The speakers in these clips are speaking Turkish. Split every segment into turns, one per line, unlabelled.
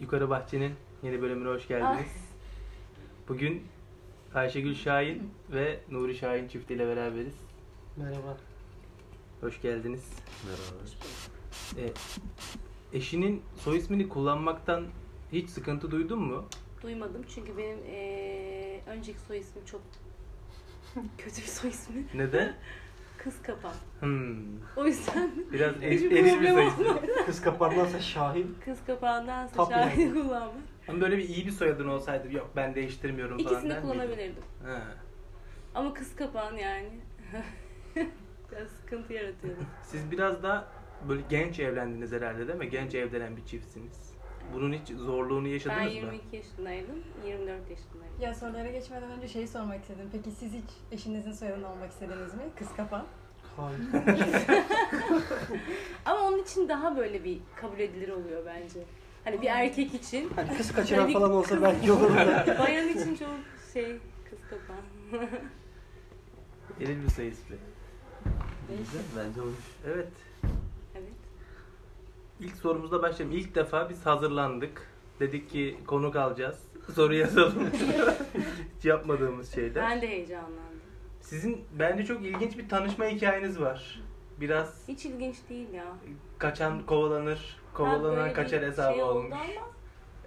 Yukarı Bahçe'nin yeni bölümüne hoş
Ah,
geldiniz. Bugün Ayşegül Şahin ve Nuri Şahin çiftiyle beraberiz.
Merhaba.
Hoş geldiniz.
Merhaba.
Ee, eşinin soy ismini kullanmaktan hiç sıkıntı duydun mu?
Duymadım çünkü benim eee, önceki soy ismim çok kötü bir soy ismi.
Neden?
Kız kapan.
Hmm.
O yüzden
Biraz
hiç
er, eril bir
problem
soy ismi.
olmaz.
Kız kapandansa Şahin.
Kız kapağındansa
Kaplan.
şahane kullanmak.
Ama böyle bir iyi bir soyadın olsaydı yok ben değiştirmiyorum falan.
İkisini
der miydin?
kullanabilirdim.
Ha.
Ama kız kapağın yani. Biraz sıkıntı yaratıyor.
Siz biraz daha böyle genç evlendiniz herhalde değil mi? Genç evlenen bir çiftsiniz. Bunun hiç zorluğunu yaşadınız
Ben
mı?
22 yaşındaydım, 24 yaşındaydım.
Ya sorulara geçmeden önce şeyi sormak istedim. Peki siz hiç eşinizin soyadını almak istediniz mi? Kız kafa.
Hayır.
Ama onun için daha böyle bir kabul edilir oluyor bence. Hani bir erkek için,
Hani kız kaçıran
Bir
falan olsa belki olur da.
bayan için çok şey kız kapan.
Eril bir soy ismi.
Güzel bence olmuş.
Evet.
Evet.
İlk sorumuzla başlayalım. İlk defa biz hazırlandık. Dedik ki konuk alacağız. Soru yazalım. Hiç yapmadığımız şeyler.
Ben de heyecanlandım.
Sizin bence çok ilginç bir tanışma hikayeniz var. Biraz
Hiç ilginç değil ya.
kaçan kovalanır,
Ben
kovalanan
böyle
kaçar
bir
hesabı
şey oldu
olmuş.
ama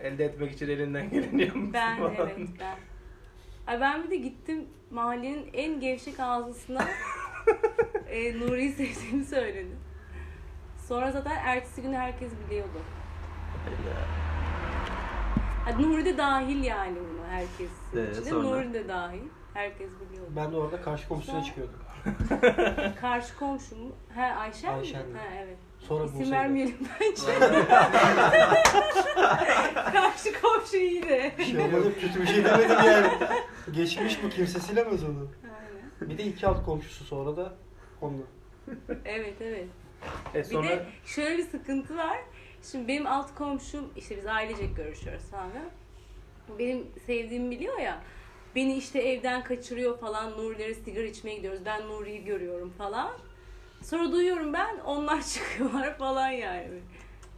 Elde etmek için elinden geleni yapmış
Ben
falan.
evet ben. Ay ben bir de gittim mahallenin en gevşek ağzısına e, Nuri'yi sevdiğimi söyledim. Sonra zaten ertesi günü herkes biliyordu. Ha, Nuri de dahil yani buna herkes.
Ee,
İçinde
sonra?
Nuri de dahil. Herkes biliyordu.
Ben de orada karşı komşusuna çıkıyordum.
Karşı komşum, ha Ayşen,
Ayşen
mi?
mi?
Ha evet.
Sonra
İsim
Bursa'ya
vermeyelim bence. Karşı komşu iyi de.
Bir şey olmadı. Kötü bir şey demedim yani. Geçmiş bu kimse silemez onu.
Aynen.
Bir de iki alt komşusu sonra da onunla.
Evet evet.
E
Bir
sonra
de şöyle bir sıkıntı var. Şimdi benim alt komşum, işte biz ailecek görüşüyoruz falan. Benim sevdiğimi biliyor ya. Beni işte evden kaçırıyor falan. Nuri'lere sigara içmeye gidiyoruz. Ben Nuri'yi görüyorum falan. Sonra duyuyorum ben onlar çıkıyorlar falan yani.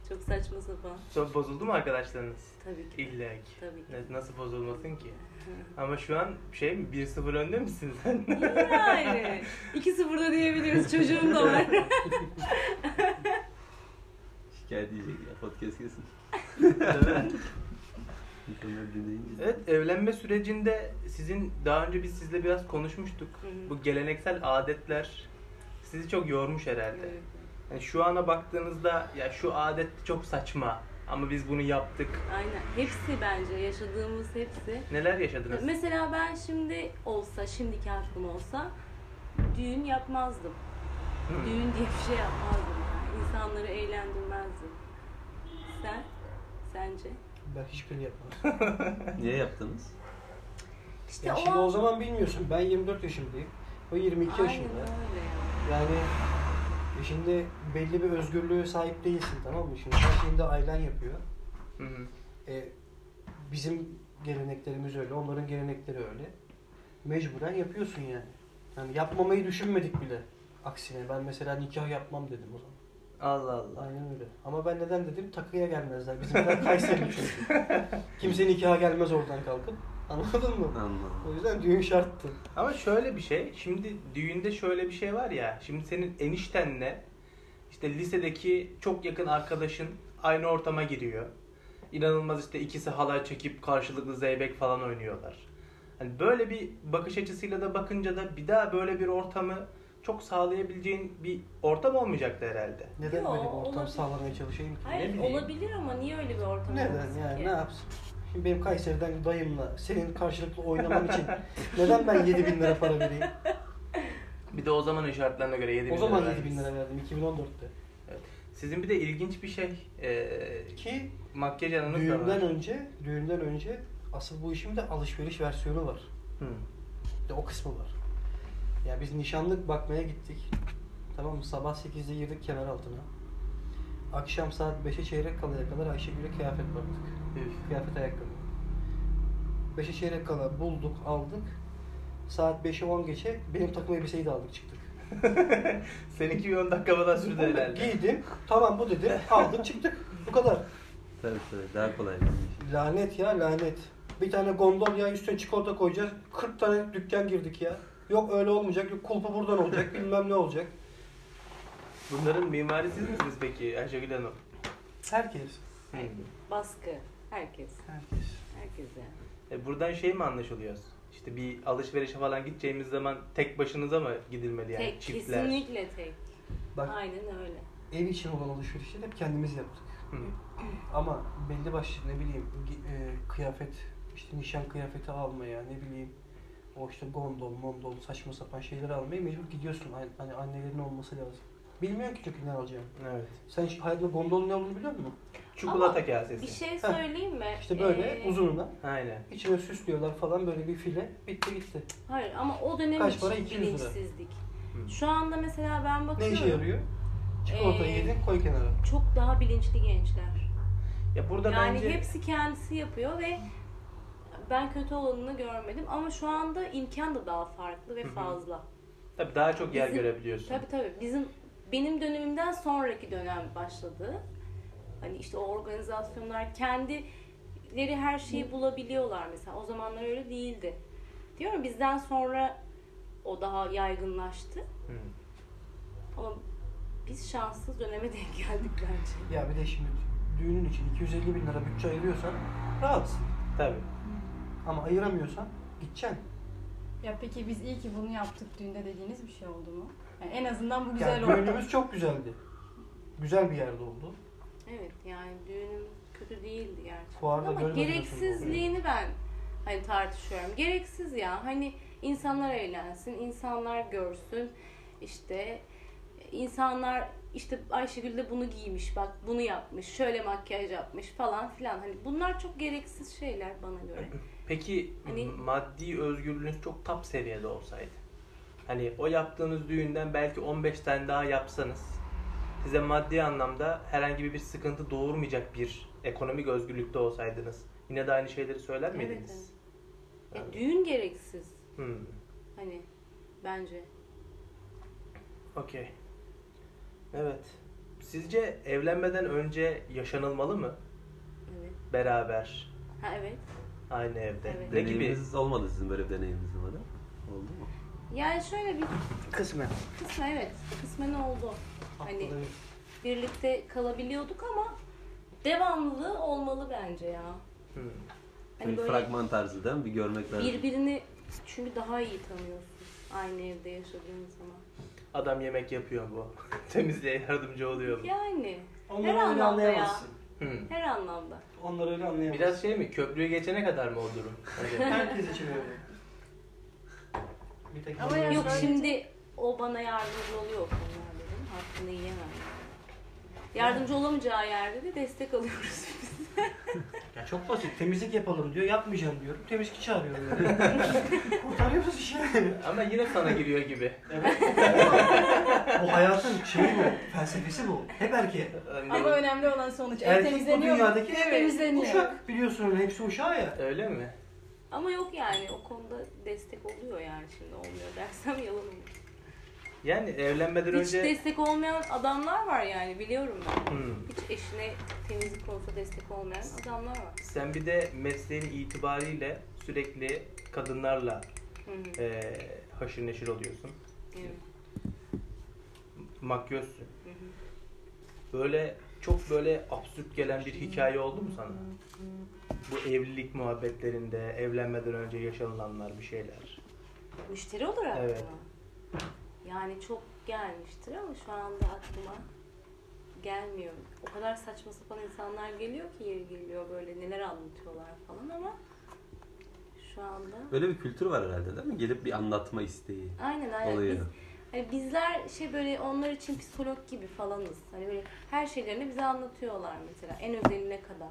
Çok saçma sapan.
çok bozuldu mu arkadaşlarınız?
Tabii ki.
İlla ki.
Tabii ki.
Ne- Nasıl bozulmasın ki? Ama şu an şey mi 1-0 önde misin sen?
Yani. 2-0'da diyebiliriz çocuğum da var.
Şikayet diyecek ya podcast kesin.
Evet.
İnsanlar dinleyince.
Evet, evlenme sürecinde sizin daha önce biz sizle biraz konuşmuştuk.
Hı hı.
Bu geleneksel adetler sizi çok yormuş herhalde. Yani şu ana baktığınızda ya şu adet çok saçma ama biz bunu yaptık.
Aynen. Hepsi bence yaşadığımız hepsi.
Neler yaşadınız?
Mesela ben şimdi olsa, şimdiki aklım olsa düğün yapmazdım.
Hı.
Düğün diye bir şey yapmazdım. Yani. İnsanları eğlendirmezdim. Sen? Sence?
Ben hiçbirini yapmadım.
Niye yaptınız?
İşte
Ya
o
şimdi
an-
o zaman bilmiyorsun. Ben 24 yaşındayım. O 22
Aynen
yaşında.
öyle ya.
Yani e şimdi belli bir özgürlüğe sahip değilsin tamam mı? Şimdi her şeyini de ailen yapıyor.
Hı hı.
E, bizim geleneklerimiz öyle, onların gelenekleri öyle. Mecburen yapıyorsun yani. Yani yapmamayı düşünmedik bile. Aksine ben mesela nikah yapmam dedim o zaman.
Allah Allah.
Aynen öyle. Ama ben neden dedim? Takıya gelmezler. Bizimler Kayseri çünkü. Kimse nikaha gelmez oradan kalkıp. Anladın mı?
Anladım.
O yüzden düğün şarttı.
Ama şöyle bir şey. Şimdi düğünde şöyle bir şey var ya. Şimdi senin eniştenle işte lisedeki çok yakın arkadaşın aynı ortama giriyor. İnanılmaz işte ikisi halay çekip karşılıklı zeybek falan oynuyorlar. Hani böyle bir bakış açısıyla da bakınca da bir daha böyle bir ortamı çok sağlayabileceğin bir ortam olmayacaktı herhalde.
Neden
Yo,
böyle bir ortam
olabilir.
sağlamaya çalışayım ki?
Hayır
bileyim.
olabilir ama niye öyle bir ortam
Neden
olmasın
yani
ki?
ne yapsın? Şimdi benim Kayseri'den dayımla senin karşılıklı oynaman için neden ben 7 bin lira para vereyim?
Bir de o zamanın şartlarına göre 7 bin
O zaman
lira
7 bin
verdiniz.
lira verdim 2014'te.
Sizin bir de ilginç bir şey. ee,
Ki
makyaj alanınız da var.
düğünden önce, düğünden önce asıl bu işin de alışveriş versiyonu var.
Hı.
Bir de o kısmı var. Ya biz nişanlık bakmaya gittik. Tamam mı? Sabah 8'de girdik kemer altına. Akşam saat 5'e çeyrek kalaya kadar Ayşegül'e kıyafet baktık.
Üf.
Kıyafet ayakkabı. 5'e çeyrek kala bulduk, aldık. Saat 5'e 10 geçe benim takım elbiseyi de aldık çıktık.
Seninki bir 10 dakika falan sürdü herhalde.
Giydim, tamam bu dedim, aldım çıktık. Bu kadar.
Tabii tabii daha kolay şey. bizim için.
Lanet ya lanet. Bir tane gondol ya üstüne çikolata koyacağız. 40 tane dükkan girdik ya. Yok öyle olmayacak. Yok kulpu buradan olacak. bilmem ne olacak.
Bunların mimari siz misiniz peki Ayşegül Hanım?
Herkes.
Baskı. Herkes.
Herkes.
Herkes yani.
E, buradan şey mi anlaşılıyor? İşte bir alışverişe falan gideceğimiz zaman tek başınıza mı gidilmeli yani?
tek.
Çiftler.
Kesinlikle tek.
Bak
Aynen öyle.
ev için olan alışverişi de hep kendimiz yaptık.
Hı.
Ama belli başlı ne bileyim gi- e, kıyafet, işte nişan kıyafeti almaya, ne bileyim o işte gondol, mondol, saçma sapan şeyler almaya mecbur gidiyorsun. An- Hani annelerin olması lazım. Bilmiyorum ki çünkü ne alacağım.
Evet.
Sen hiç hayatında gondolun ne olduğunu biliyor musun?
Çikolata
Ama
kasesi.
Bir şey söyleyeyim mi?
İşte böyle
Ee,
uzununa.
Aynen.
İçine süslüyorlar falan böyle bir file. Bitti gitti.
Hayır ama o dönem
Kaç
için
para? 200 lira. Hmm.
bilinçsizlik.
Hı.
Şu anda mesela ben
Ne
bakıyorum.
işe yarıyor? Çikolata
Ee,
yedin koy kenara.
Çok daha bilinçli gençler.
Ya burada
yani
bence
hepsi kendisi yapıyor ve ben kötü olanını görmedim ama şu anda imkan da daha farklı ve
Hı hı.
fazla.
tabii daha çok yer
Bizim-
görebiliyorsun.
Tabii tabii bizim benim dönemimden sonraki dönem başladı. Hani işte o organizasyonlar kendileri her şeyi bulabiliyorlar mesela. O zamanlar öyle değildi. Diyorum bizden sonra o daha yaygınlaştı.
Hı.
Ama biz şanssız döneme denk geldik bence.
Ya bir de şimdi düğünün için 250 bin lira bütçe ayırıyorsan rahatsın.
Tabii.
Ama ayıramıyorsan gideceksin.
Ya peki biz iyi ki bunu yaptık düğünde dediğiniz bir şey oldu mu? Yani en azından bu güzel
Yani
oldu.
düğünümüz çok güzeldi. Güzel bir yerde oldu.
Evet yani düğünüm kötü değildi gerçekten.
Fuarda
Ama
görmedim
gereksizliğini ben hani tartışıyorum. Gereksiz ya hani insanlar eğlensin, insanlar görsün. işte insanlar işte Ayşegül de bunu giymiş bak bunu yapmış şöyle makyaj yapmış falan filan hani bunlar çok gereksiz şeyler bana göre.
Peki
Hani-
maddi özgürlüğünüz çok top seviyede olsaydı. Hani o yaptığınız düğünden belki 15 tane daha yapsanız size maddi anlamda herhangi bir sıkıntı doğurmayacak bir ekonomik özgürlükte olsaydınız yine de aynı şeyleri söyler
Evet,
miydiniz?
evet. Ya E, düğün gereksiz
Hmm.
hani bence.
Okey. Evet. Sizce evlenmeden önce yaşanılmalı mı
Evet.
beraber
Ha evet.
aynı evde?
Evet.
Ne gibi?
Deneyiminiz olmadı sizin böyle bir deneyiminiz mi? Oldu mu?
Yani şöyle bir
Kısmen.
kısmen evet kısmen oldu. Hani- birlikte kalabiliyorduk ama devamlılığı olmalı bence ya.
Hmm.
Hani
bir
böyle
fragman tarzı değil mi? Bir görmek lazım.
birbirini çünkü daha iyi tanıyorsun aynı evde yaşadığın zaman.
Adam yemek yapıyor bu. Temizliğe yardımcı oluyor mu?
Yani
Onları
Her
öyle
anlamda
anlayamazsın.
Hmm.
her anlamda.
Onları öyle anlayamazsın.
Biraz şey mi? Köprüyü geçene kadar mı o durum? Hani-
herkes için öyle. Bir tek
Ama
onları-
yani
Yok
şöyle-
şimdi o bana yardımcı oluyor o konularda değil mi? Hakkını yiyemem. Yardımcı olamayacağı yerde de destek alıyoruz biz.
Ya çok basit. Temizlik yapalım diyor. Yapmayacağım diyorum. Temizlikçi çağırıyorum. Yani. Kurtarıyoruz işi.
Ama yine sana giriyor gibi.
Evet. bu hayatın şeyi bu. Felsefesi bu. Hep erkeğe.
Hani
Ama önemli olan sonuç. Ev
Erkek bu
temizleniyor. mu?
dünyadaki
Ev temizleniyor.
uşak. Biliyorsun öyle. Hepsi uşağı ya.
Öyle mi?
Ama yok yani o konuda destek oluyor yani şimdi olmuyor dersem yalan olur.
Yani evlenmeden
Hiç
önce...
destek olmayan adamlar var yani biliyorum ben.
Hmm.
Hiç eşine temizlik konusunda destek olmayan adamlar var.
Sen bir de mesleğin itibariyle sürekli kadınlarla
Hı hı.
eee haşır neşir oluyorsun.
Evet.
Makyözsün.
Hı hı.
Böyle çok böyle absürt gelen bir hikaye oldu mu sana? Bu evlilik muhabbetlerinde, evlenmeden önce yaşanılanlar bir şeyler.
Müşteri olarak
Evet.
mı? Yani çok gelmiştir ama şu anda aklıma gelmiyor. O kadar saçma sapan insanlar geliyor ki yeri geliyor böyle neler anlatıyorlar falan ama şu anda
Böyle bir kültür var herhalde değil mi? Gelip bir anlatma isteği
aynen aynen
oluyor.
biz hani bizler şey böyle onlar için psikolog gibi falanız. Hani böyle her şeylerini bize anlatıyorlar mesela en özeline kadar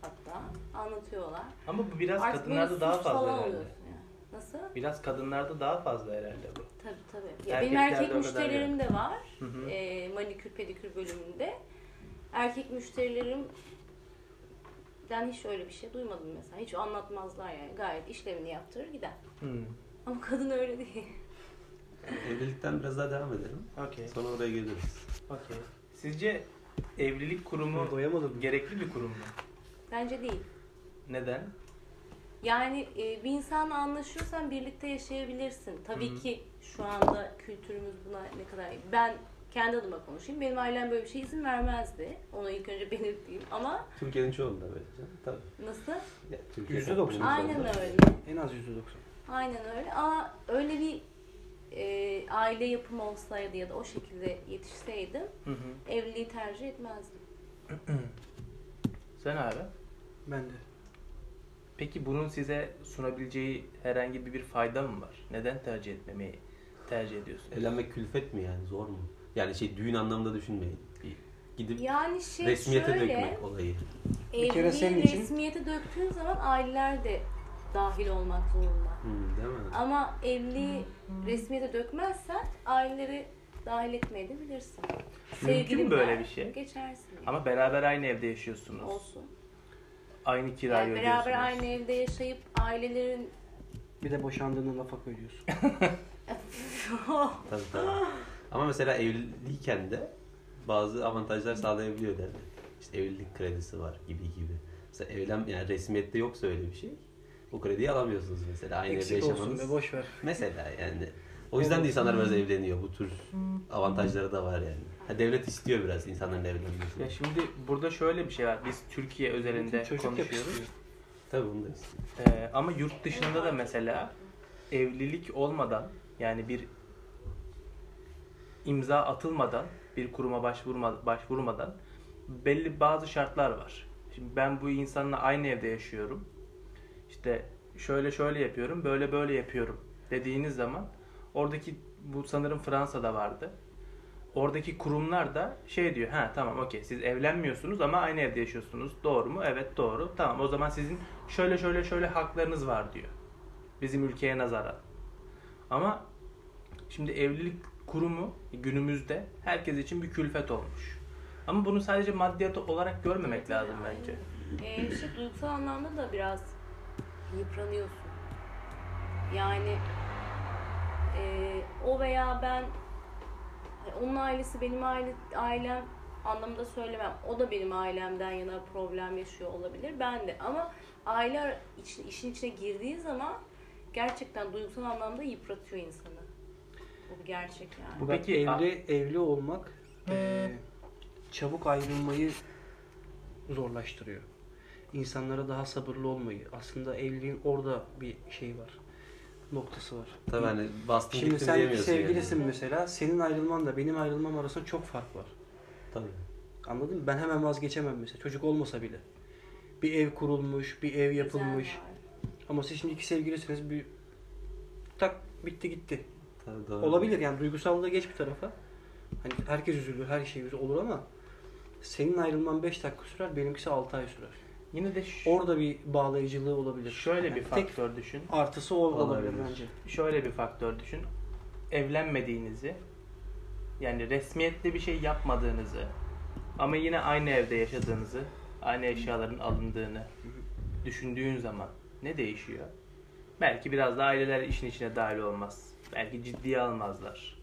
hatta anlatıyorlar.
Ama bu biraz
Artık böyle
kadınlarda daha
suç
fazla
falan
herhalde.
oluyorsun yani. Nasıl?
Biraz kadınlarda daha fazla herhalde bu.
Tabii tabii. Ya benim
Erkeklerde o
erkek
kadar
müşterilerim de var.
Hı hı.
e, manikür pedikür bölümünde. Erkek müşterilerimden hiç öyle bir şey duymadım mesela. Hiç anlatmazlar yani. Gayet işlemini yaptırır gider.
Hmm.
Ama kadın öyle değil.
Evlilikten biraz daha devam edelim.
Okey.
Sonra oraya geliriz.
Okey. Sizce evlilik kurumu
Doyamadım.
gerekli bir kurum mu?
Bence değil.
Neden?
Yani e, bir insanla anlaşıyorsan birlikte yaşayabilirsin. Tabii
Hı hı.
ki şu anda kültürümüz buna ne kadar... Ben kendi adıma konuşayım. Benim ailem böyle bir şey izin vermezdi. Onu ilk önce belirteyim. Ama
Türkiye'nin çoğunda böyle canım. Tabii.
nasıl?
Ya, Türkiye'de
%90
bunun
Aynen
çoğunda.
öyle.
En az %90.
Aynen öyle. Aa, öyle bir e, aile yapımı olsaydı ya da o şekilde yetişseydim
Hı hı.
evliliği tercih etmezdim.
Sen abi.
Ben de.
Peki bunun size sunabileceği herhangi bir- bir fayda mı var? Neden tercih etmemeyi tercih ediyorsun?
Evlenmek külfet mi yani zor mu? Yani şey düğün anlamında düşünmeyin. Bir gidip
Yani şey
resmiyete
şöyle,
dökmek olayı.
Bir kere senin
evliliği
için-
resmiyete döktüğün zaman aileler de dahil olmak zorunda.
Hmm, değil mi?
Ama evliliği resmiyete dökmezsen aileleri dahil etmeyi de bilirsin. Sevgilin
böyle
var,
bir şey?
Geçersin. yani.
Ama beraber aynı evde yaşıyorsunuz.
olsun.
Aynı kirayı
Yani
ödüyorsunuz.
beraber aynı evde yaşayıp ailelerin
Bir de boşandığında nafaka ödüyorsun.
Tabii tabii. Ama mesela evliyken de bazı avantajlar sağlayabiliyor derler. İşte evlilik kredisi var gibi gibi. Mesela evlen yani resmiyette yoksa öyle bir şey. O krediyi alamıyorsunuz mesela aynı evde
Eksik olsun be
yaşamanız.
boş ver.
Mesela yani. O yüzden de insanlar biraz evleniyor. Bu tür avantajları da var yani. Ha, devlet istiyor biraz insanların
Ya
evlenmesini.
şimdi burada şöyle bir şey var. Biz Türkiye özelinde
Çocuk
konuşuyoruz.
yakışıyor.
Tabii bunu da istiyor.
Ee, ama yurt dışında da mesela evlilik olmadan yani bir imza atılmadan bir kuruma başvurma, başvurmadan belli bazı şartlar var. Şimdi ben bu insanla aynı evde yaşıyorum. İşte şöyle şöyle yapıyorum, böyle böyle yapıyorum dediğiniz zaman oradaki bu sanırım Fransa'da vardı. Oradaki kurumlar da şey diyor. Ha tamam okey siz evlenmiyorsunuz ama aynı evde yaşıyorsunuz. Doğru mu? Evet doğru. Tamam o zaman sizin şöyle şöyle şöyle haklarınız var diyor. Bizim ülkeye nazaran. Ama şimdi evlilik kurumu günümüzde herkes için bir külfet olmuş. Ama bunu sadece maddiyat olarak görmemek lazım bence.
Ee, işte duygusal anlamda da biraz yıpranıyorsun. Yani e, o veya ben hani onun ailesi benim aile, ailem anlamında söylemem. O da benim ailemden yana problem yaşıyor olabilir. Ben de ama aile ara- için- işin içine girdiği zaman gerçekten duygusal anlamda yıpratıyor insanı. Bu bir gerçek yani.
Bu
Peki,
Peki evli evli olmak eee, çabuk ayrılmayı zorlaştırıyor. İnsanlara daha sabırlı olmayı. Aslında evliliğin orada bir şey var. Noktası var.
Tabii hani bastın
Şimdi
gittin
sen
diyemiyorsun
sevgilisin
yani.
mesela. Senin ayrılmanla benim ayrılmam arasında çok fark var.
Tabii.
Anladın mı? Ben hemen vazgeçemem mesela. Çocuk olmasa bile. Bir ev kurulmuş, bir ev yapılmış.
Düzen var.
Ama siz şimdi iki sevgilisiniz. Bir tak bitti gitti.
Tabii doğru.
Olabilir yani duygusallığı geç bir tarafa. Hani herkes üzülür, her şey üzü- olur ama senin ayrılman 5 dakika sürer, benimkisi 6 ay sürer.
Yine de ş-
Orada bir bağlayıcılığı olabilir.
şöyle bir
Yani tek
faktör düşün.
artısı o olabilir,
Olabilir.
bence.
Şöyle bir faktör düşün. Evlenmediğinizi yani resmiyetli bir şey yapmadığınızı ama yine aynı evde yaşadığınızı, aynı eşyaların alındığını düşündüğün zaman ne değişiyor? Belki biraz da aileler işin içine dahil olmaz. Belki ciddiye almazlar.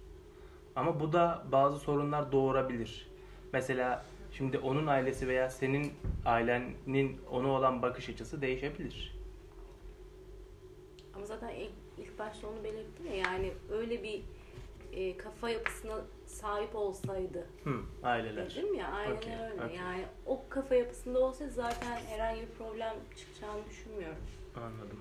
Ama bu da bazı sorunlar doğurabilir. Mesela şimdi onun ailesi veya senin ailenin ona olan bakış açısı değişebilir.
Ama zaten ilk, ilk başta onu belirttim ya yani öyle bir e, kafa yapısına sahip olsaydı
Hı, aileler.
dedim ya aynen
Okey,
öyle
okey.
yani o kafa yapısında olsaydı zaten herhangi bir problem çıkacağını düşünmüyorum.
Anladım.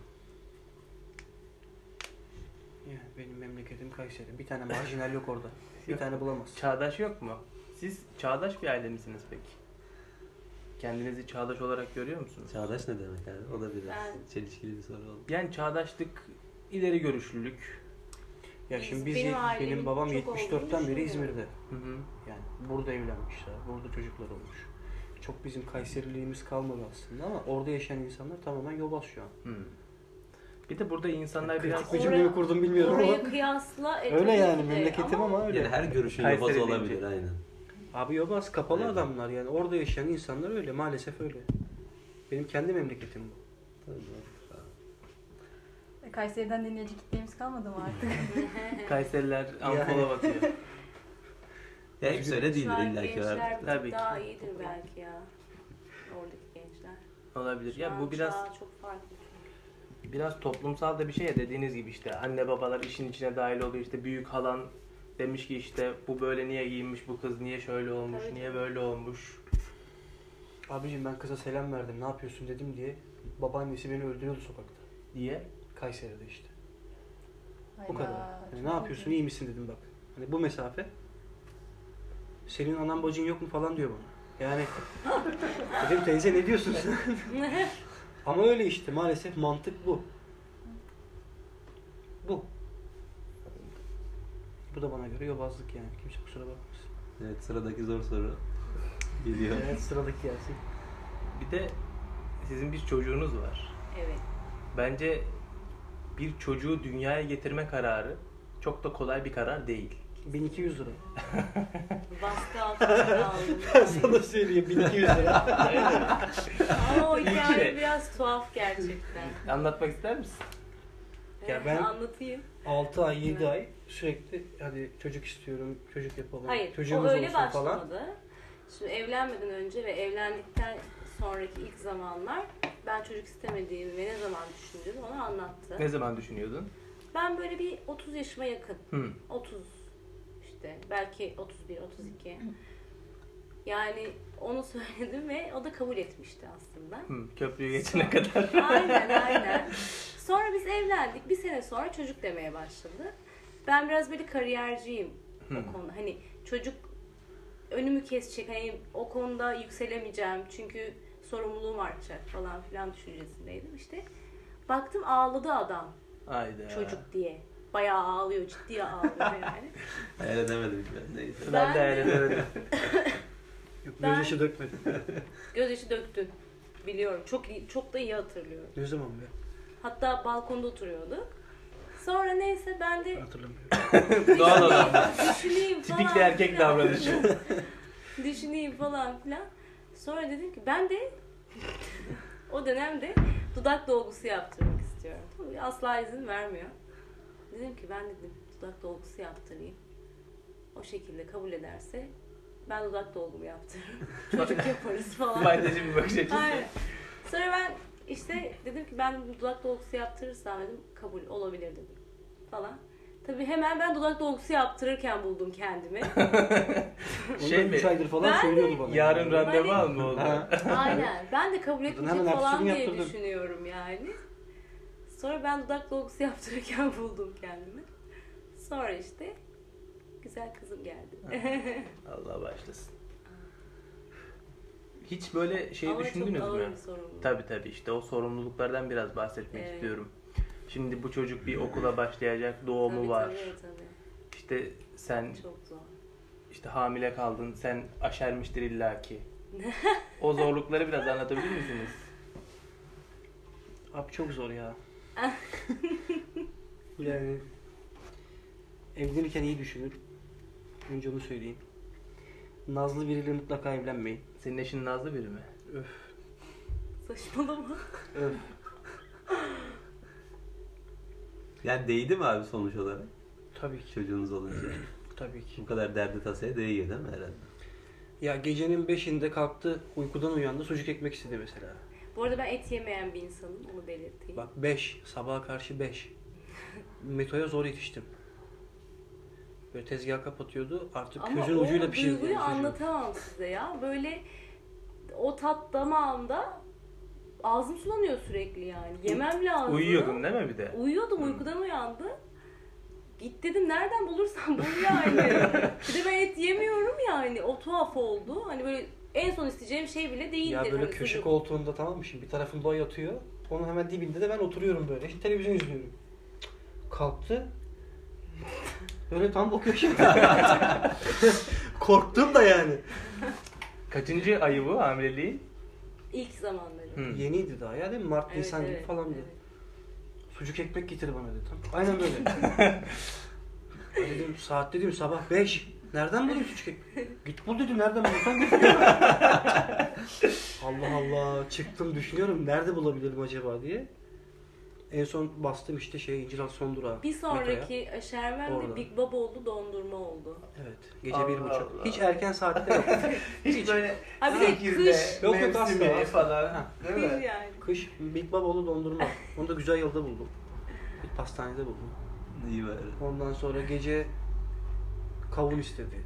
Yani benim memleketim Kayseri. Bir tane marjinal yok orada. Bir tane bulamaz.
Çağdaş yok mu? Siz çağdaş bir aile misiniz peki? Kendinizi çağdaş olarak görüyor musunuz?
Çağdaş ne demek yani? O da biraz
Ben-
çelişkili bir soru oldu.
Yani çağdaşlık, ileri görüşlülük.
Ya
Biz-
şimdi biz,
benim
benim,
ailemin
babam
çok
74'ten
olduğunu düşünüyorum.
beri İzmir'de.
Hı hı.
Yani burada evlenmişler, burada çocuklar olmuş. Çok bizim Kayseriliğimiz kalmadı aslında ama orada yaşayan insanlar tamamen yobaz şu an.
Hı. Bir de burada insanlar biraz
Kritik bir cümleyi
Oraya-
kurdum bilmiyorum ama.
Oraya kıyasla e,
Öyle
tabii
yani
ki de
memleketim ama öyle.
Yani her görüşün
Kayseri
yobaz
deyince.
olabilir aynen.
Abi yobaz kapalı
Evet.
adamlar yani orada yaşayan insanlar öyle maalesef öyle. Benim kendi memleketim bu.
Tabii doğrudur abi.
E, Kayseri'den dinleyici kitlemiz kalmadı mı artık?
Kayseriler ampola batıyor.
Ya hep öyle
Şu
değildir
an
illa ki.
gençler
vardır.
Tabii ki.
daha iyidir belki ya. Oradaki gençler.
olabilir. Ya bu
Çağ-
biraz
çağ çok farklı.
biraz toplumsal da bir şey ya dediğiniz gibi işte anne babalar işin içine dahil oluyor işte büyük halan demiş ki işte bu böyle niye giyinmiş bu kız niye şöyle olmuş
Tabii
niye
ki.
böyle olmuş
Abicim ben kıza selam verdim ne yapıyorsun dedim diye babaannesi beni öldürüyordu sokakta.
diye
Kayseri'de işte.
Hayda,
Bu kadar.
çok
Yani ne yapıyorsun iyi misin dedim bak. Hani bu mesafe. Senin anan bacın yok mu falan diyor bana. Yani dedim teyze ne diyorsun sen? Ama öyle işte maalesef mantık bu. Bu. Bu da bana göre yobazlık yani. Kimse kusura bakmasın.
Evet sıradaki zor soru geliyor.
Evet sıradaki gelsin.
bir de sizin bir çocuğunuz var.
Evet.
Bence bir çocuğu dünyaya getirme kararı çok da kolay bir karar değil.
1200 lira.
Baskı altında kaldım.
Sana söyleyeyim 1200 lira.
Ama o hikaye
İlkine.
biraz tuhaf gerçekten.
Anlatmak ister misin?
Evet,
ben-
Anlatayım.
6 ay 7 ay sürekli hani çocuk istiyorum, çocuk yapalım,
Hayır,
çocuğumuz
o öyle
olsun
başlamadı.
falan.
Şimdi evlenmeden önce ve evlendikten sonraki ilk zamanlar ben çocuk istemediğimi ve ne zaman düşündüğümü ona anlattı.
Ne zaman düşünüyordun?
Ben böyle bir 30 yaşıma yakın,
Hı.
30 işte belki 31, 32. Yani onu söyledim ve o da kabul etmişti aslında.
Hı. Köprüyü geçene kadar.
aynen aynen. Sonra biz evlendik. Bir sene sonra çocuk demeye başladı. Ben biraz böyle kariyerciyim o konuda. Hani çocuk önümü kesecek. Hani o konuda yükselemeyeceğim. Çünkü sorumluluğum artacak falan filan düşüncesindeydim. İşte baktım ağladı adam
Hayda.
çocuk diye. Bayağı ağlıyor, ciddiye ağlıyor yani.
Hayal edemedim ben neyse.
Ben,
Ben
de hayal edemedim.
Yok
Ben-
gözyaşı dökmedim.
Gözyaşı döktün. Biliyorum. Çok iyi, çok da iyi hatırlıyorum.
Ne zaman be?
Hatta balkonda oturuyorduk. Sonra neyse ben de
Hatırlamıyorum.
Doğal adam.
Düşüneyim falan.
Tipik bir erkek
filan.
davranışı.
Düşüneyim falan filan. Sonra dedim ki ben de o dönemde dudak dolgusu yaptırmak istiyorum. Tabii asla izin vermiyor. Dedim ki ben dedim dudak dolgusu yaptırayım. O şekilde kabul ederse ben dudak dolgumu yaptırırım. Çocuk yaparız falan.
Maddeci bir bakış açısı.
Aynen. Sonra ben işte dedim ki ben dudak dolgusu yaptırırsam dedim kabul olabilir dedim falan. Tabii hemen ben dudak dolgusu yaptırırken buldum kendimi.
Şey
Şey
mi?
3 aydır falan
Ben
söylüyordu bana.
Yarın
yani.
randevu al mı oldu?
Ha.
Aynen. Ben de kabul etmeyecek
hemen
falan
aksiyonu
diye
yaptırdın.
düşünüyorum yani. Sonra ben dudak dolgusu yaptırırken buldum kendimi. Sonra işte güzel kızım geldi.
Allah başlasın. Hiç böyle şey
Ama
düşündünüz
çok ağır
mü?
bir sorumluluk.
Tabii tabii işte o sorumluluklardan biraz bahsetmek
Evet.
istiyorum. Şimdi bu çocuk bir okula başlayacak, doğumu
Tabii,
var.
Tabii tabii.
İşte sen
Çok zor.
işte hamile kaldın, sen aşermiştir illaki. o zorlukları biraz anlatabilir misiniz?
Abi çok zor ya. yani evlenirken iyi düşünün. Önce onu söyleyeyim. Nazlı biriyle mutlaka evlenmeyin.
Senin eşin Nazlı biri mi?
Saçmalama.
Öf.
Yani değdi mi abi sonuç olarak
Tabii ki.
çocuğunuz olunca?
Tabii ki.
Bu kadar derdi tasaya değiyor değil mi herhalde?
Ya gecenin beşinde kalktı, uykudan uyandı, sucuk ekmek istedi mesela.
Bu arada ben et yemeyen bir insanım. Onu belirteyim.
Bak 5, sabaha karşı 5. Metoya zor yetiştim. Böyle tezgah kapatıyordu, artık gözün
o
ucuyla pişirdi.
duyguyu
yani sucuğu.
anlatamam size ya. Böyle o tat damağımda ağzım sulanıyor sürekli yani. Yemem lazım.
Uyuyordun değil mi bir de?
Hmm.
Uyuyordum uykudan uyandım. Git dedim nereden bulursam bul yani. bir de ben et yemiyorum yani. O tuhaf oldu. Hani böyle en son isteyeceğim şey bile değildir.
Ya böyle
hani
köşe
sucuk.
koltuğunda tamam mı şimdi bir tarafında o yatıyor. Onun hemen dibinde de ben oturuyorum böyle. İşte televizyon izliyorum. Kalktı. Böyle tam o köşede. Korktum da yani.
Kaçıncı ayı bu hamileliğin?
İlk zamanları.
Hı.
Yeniydi daha ya değil mi? Mart,
Evet,
Nisan Hmm. gibi
evet,
falan dedi.
evet.
Sucuk ekmek getir bana dedi. Tam. Aynen böyle. Ben dedim saat dedim sabah 5. Nereden bulayım sucuk ekmek? Git bul dedim nereden bulursan git. Allah Allah çıktım düşünüyorum nerede bulabilirim acaba diye. En son bastım işte şey İncirhan son durağı.
Bir
Metroya.
sonraki aşermen
Orada.
de Big Bob oldu, dondurma oldu.
Evet. Gece
Allah
bir buçuk.
Allah.
Hiç erken saatte yok.
Hiç böyle
Ha bir de
Sekirde,
kış.
Yok, yok, asla,
mevsimi
asla.
falan.
Ha.
Değil
Kış
mi?
yani.
Kış Big Babalı dondurma. Onu da güzel yolda buldum. Bir pastanede buldum.
İyi bari.
Ondan sonra gece kavun istedi.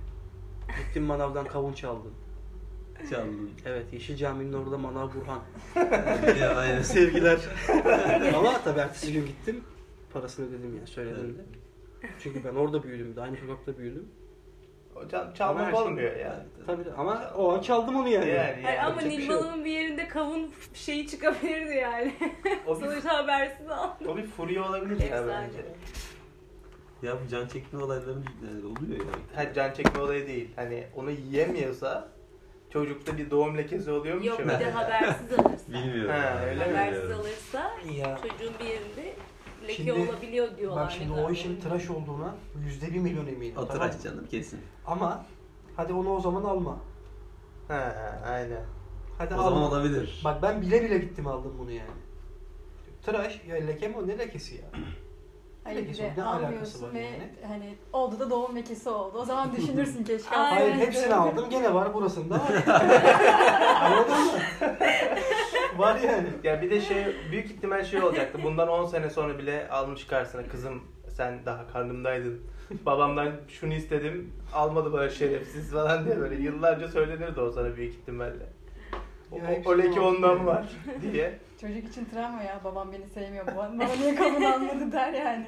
Gittim manavdan kavun çaldım.
Canlı.
Evet Yeşil Cami'nin orada manav Burhan.
ya, aynen.
Sevgiler. Ama tabii ertesi gün gittim. Parasını ödedim yani söyledim de. Çünkü ben orada büyüdüm de aynı sokakta büyüdüm.
Hocam
Ama her
çalmak
şey-
olmuyor yani.
Tabii de- ama o an çaldım onu yani.
Yani,
Hayır, ama
yapacak bir şey yok.
Nilmalı'nın bir yerinde kavun şeyi çıkabilirdi yani.
şey O bir,
Sonuçta habersiz al.
o bir furya olabilir ya
Efsane.
bence.
Ya bu can çekme olayları e, oluyor ya.
Ha, can çekme olayı değil. Hani onu yiyemiyorsa çocukta bir doğum lekesi oluyormuş
Yok
ya
bir de
mesela.
habersiz alırsa.
Bilmiyorum.
Ha, öyle mi?
habersiz
Bilmiyorum.
alırsa
Ya
çocuğun bir yerinde leke
Şimdi-
olabiliyor diyorlar.
bak şimdi
ne kadar
o işin
doğru.
tıraş olduğuna yüzde bir milyon eminim.
O
tamam mı?
tıraş canım kesin.
Ama hadi onu o zaman alma.
Ha, aynen.
Hadi
O
alma.
zaman olabilir.
Bak ben bile bile gittim aldım bunu yani. Tıraş ya leke mi o ne lekesi ya?
Hayır bir
Lekesi
de
ne şey, alakası var
almıyorsun ve
yani?
hani oldu da doğum lekesi oldu. O zaman düşünürsün keşke.
Aynen.
Hayır
alsaydım.
hepsini aldım gene var burasında. var. Anladın mı? var yani.
Ya bir de şey büyük ihtimal şey olacaktı. Bundan 10 sene sonra bile almış karşısına kızım sen daha karnımdaydın. Babamdan şunu istedim. Almadı bana şerefsiz falan diye böyle yıllarca söylenirdi o sana büyük ihtimalle. O,
Ya
o-
hepsi
o leke
var.
ondan var diye.
Çocuk için travma ya. Babam beni sevmiyor. Babam bana niye kavun almadı der yani.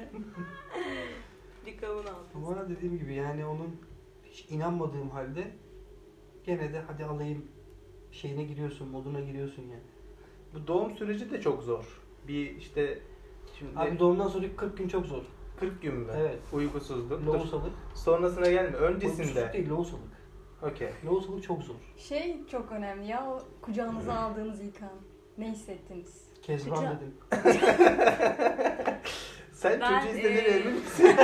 Bir kavun aldı.
Ama dediğim gibi yani onun hiç inanmadığım halde gene de hadi alayım şeyine giriyorsun, moduna giriyorsun yani.
Bu doğum süreci de çok zor. Bir işte şimdi
Abi doğumdan sonraki 40 gün çok zor.
40 gün mü?
Evet.
Uykusuzluk. Dur.
Lohusalık.
Sonrasına gelme.
Uykusuzluk
Öncesinde.
değil, lohusalık.
Okey.
Lohusalık çok zor.
Şey çok önemli ya. O kucağınıza aldığınız ilk an. Ne hissettiniz?
Kezban
Kucağı-
dedim.
Sen
Ben, e,
çocuğu istediğine
eee,
emin misin?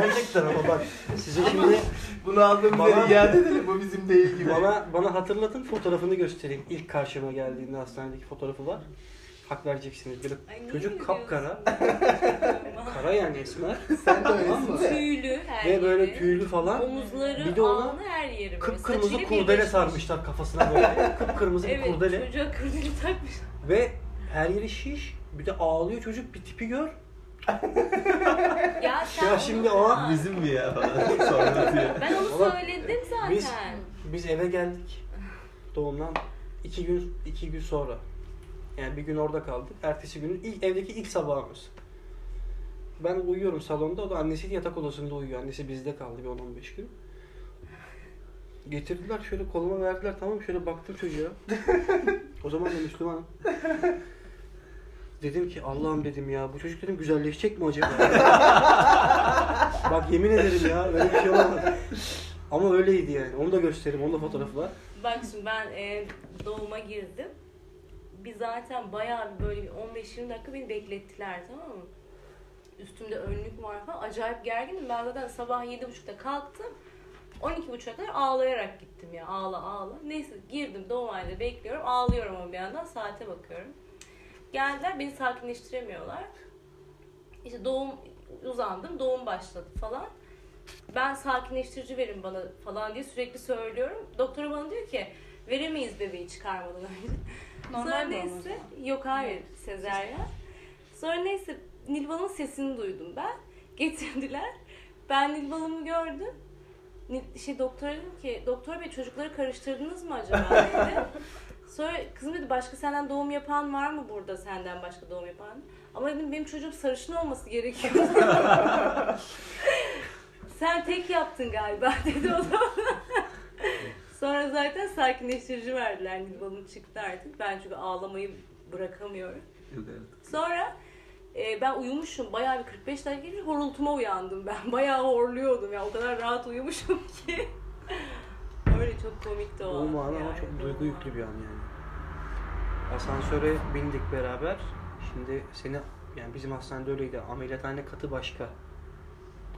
Gerçekten ama bak size şimdi
Bunu aldığımızda
Bana-
iade edelim. Bu bizim değil gibi.
bana bana hatırlatın fotoğrafını göstereyim. İlk karşıma geldiğinde hastanedeki fotoğrafı var. Hak vereceksiniz. Böyle
Ay, niye
çocuk
öyle
kapkara.
diyorsun?
Kara yani esmer.
Sen de
Tamam
öylesin
mı?
de.
Tüylü her
Ve
yeri.
böyle tüylü falan.
Omuzları,
Bir de ona
alnı her yeri. böyle.
Kıpkırmızı
Saçıyla
kurdele
birleşmiş.
sarmışlar kafasına böyle. Kıpkırmızı bir
Evet
kurdele.
çocuğa kurdele takmış.
Ve her yeri şiş. Bir de ağlıyor çocuk. Bir tipi gör.
Ya sen
Ya
onu
şimdi o
bırak.
Bizim mi ya falan. Sonra diyor.
Ben onu
Ulan
söyledim zaten.
biz- Biz eve geldik. Doğumdan iki gün iki gün sonra. Yani bir gün orada kaldık. Ertesi günün ilk evdeki ilk sabahımız. Ben uyuyorum salonda. O da annesiyle yatak odasında uyuyor. Annesi bizde kaldı bir 10-15 gün. Getirdiler şöyle koluma verdiler tamam şöyle baktım çocuğa. o zaman da Müslümanım. Dedim ki Allah'ım dedim ya bu çocuk dedim güzelleşecek mi acaba? Bak yemin ederim ya öyle bir şey olamadı. Ama öyleydi yani. Onu da göstereyim. Onun da fotoğrafı var.
Bak şimdi ben e, doğuma girdim. Bir zaten bayağı bir böyle bir 15-20 dakika beni beklettiler tamam mı? Üstümde önlük var falan. Acayip gerginim. Ben zaten sabah 7.30'da kalktım. 12.30'a kadar ağlayarak gittim ya. Ağla ağla. Neyse girdim doğum halinde bekliyorum. Ağlıyorum ama bir yandan saate bakıyorum. Geldiler beni sakinleştiremiyorlar. İşte doğum uzandım. Doğum başladı falan. Ben sakinleştirici verin bana falan diye sürekli söylüyorum. Doktora bana diyor ki veremeyiz bebeği çıkarmadan önce. Sonra
Normal doğum o
neyse. Yok hayır sezeryan. Sonra neyse Nilbal'ın sesini duydum ben. Getirdiler. Ben Nilbal'ımı gördüm. Ni- şey doktora dedim ki doktor bey çocukları karıştırdınız mı acaba dedi. Sonra kızım dedi başka senden doğum yapan var mı burada senden başka doğum yapan? Ama dedim benim çocuğum sarışın olması gerekiyor. Sen tek yaptın galiba dedi o zaman. Sonra zaten sakinleştirici verdiler. Nilbalım çıktı artık. Ben çünkü ağlamayı bırakamıyorum.
Yok evet.
Sonra e, ben uyumuşum. Bayağı bir 45 dakika geçmiş. Horultuma uyandım ben. Bayağı horluyordum ya. O kadar rahat uyumuşum ki. Öyle çok komikti o.
Doğum
an
anı ama
yani.
çok duygu yüklü bir an yani. Asansöre bindik beraber. Şimdi seni yani bizim hastanede öyleydi. Ameliyathane katı başka.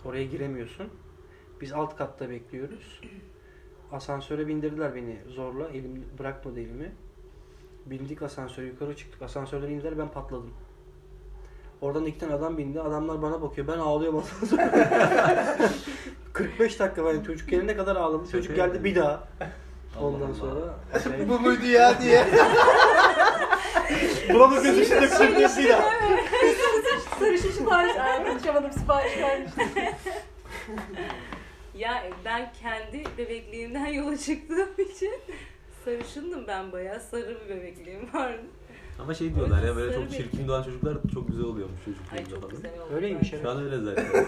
Oraya giremiyorsun. Biz alt katta bekliyoruz. Asansöre bindirdiler beni zorla. Elim bırakmadı elimi. Bindik asansöre yukarı çıktık. Asansörden indiler ben patladım. Oradan iki tane adam bindi. Adamlar bana bakıyor. Ben ağlıyorum ondan sonra. 45 dakika ben çocuk gelene kadar ağladım. Çocuk
Şaka
geldi bir daha. Ondan
Allah.
sonra şey,
Bu muydu ya diye.
buna bakıyorsun işte çocuk bir daha.
Sarışın sipariş Ay, konuşamadım sipariş vermiştim.
Ya ben kendi bebekliğimden yola çıktığım için sarışındım ben bayağı. Sarı bir bebekliğim vardı.
Ama şey diyorlar ya böyle
Sarı
çok
bir-
çirkin doğan çocuklar çok güzel oluyormuş
Ay çok
çocukluğunda falan.
güzel oldu.
Öyleymiş
Bence
evet.
Şu an öyle zaten.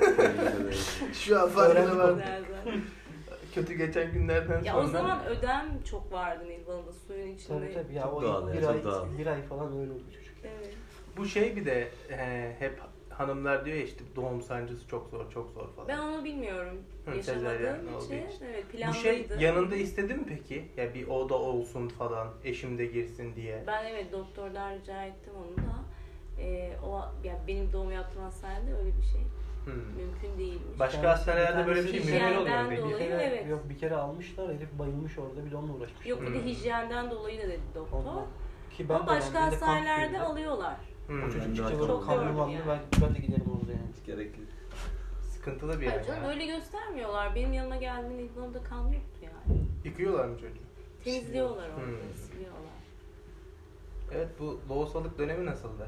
şey.
Şu an
Öğrendik
farkına
onu.
var.
güzel zaten.
Kötü geçen günlerden sonra.
Ya o zaman ödem çok vardı Nilbal'ın suyun içinde.
Tabii tabii ya
Çok
o
doğal ya,
bir,
çok
ay,
doğal.
bir ay falan öyle oldu çocuk.
Evet.
Bu şey bir de e, hep hanımlar diyor ya işte doğum sancısı çok zor çok zor falan.
Ben onu bilmiyorum.
Hı, sezaryen
Yaşamadığım
olduğu
için.
için.
Evet
Bu
planlıydı.
şey yanında istedi mi peki? Ya bir oda olsun falan eşim de girsin diye.
Ben evet doktordan rica ettim onu da. Ee, o ya benim doğum yaptığım hastanede öyle bir şey
Hmm.
mümkün değilmiş.
Başka
Bir
hastanelerde böyle bir şey
tanesi
mümkün oluyor
hijyenden
mu peki?
Bir
Dolayı
kere,
evet.
Yok bir kere almışlar herif bayılmış orada bir de onunla uğraşmış.
Yok bir de
Hmm.
hijyenden dolayı da dedi doktor.
Ondan. Ki
Ama başka
ben de
hastanelerde
kampteydim.
alıyorlar.
Hmm.
O çocuk
Ben de
işte
çok
böyle kanlı
gördüm
manlı
yani.
ben, ben de giderim orada yani.
Gerekli.
Sıkıntılı bir
Hayır
yer
canım
ya.
öyle göstermiyorlar. Benim yanıma geldiğinde İlhan'da kan yoktu yani.
Yıkıyorlar mı çocuğu?
Temizliyorlar orada,
Hmm.
siliyorlar.
Evet bu lohusalık dönemi nasıldı?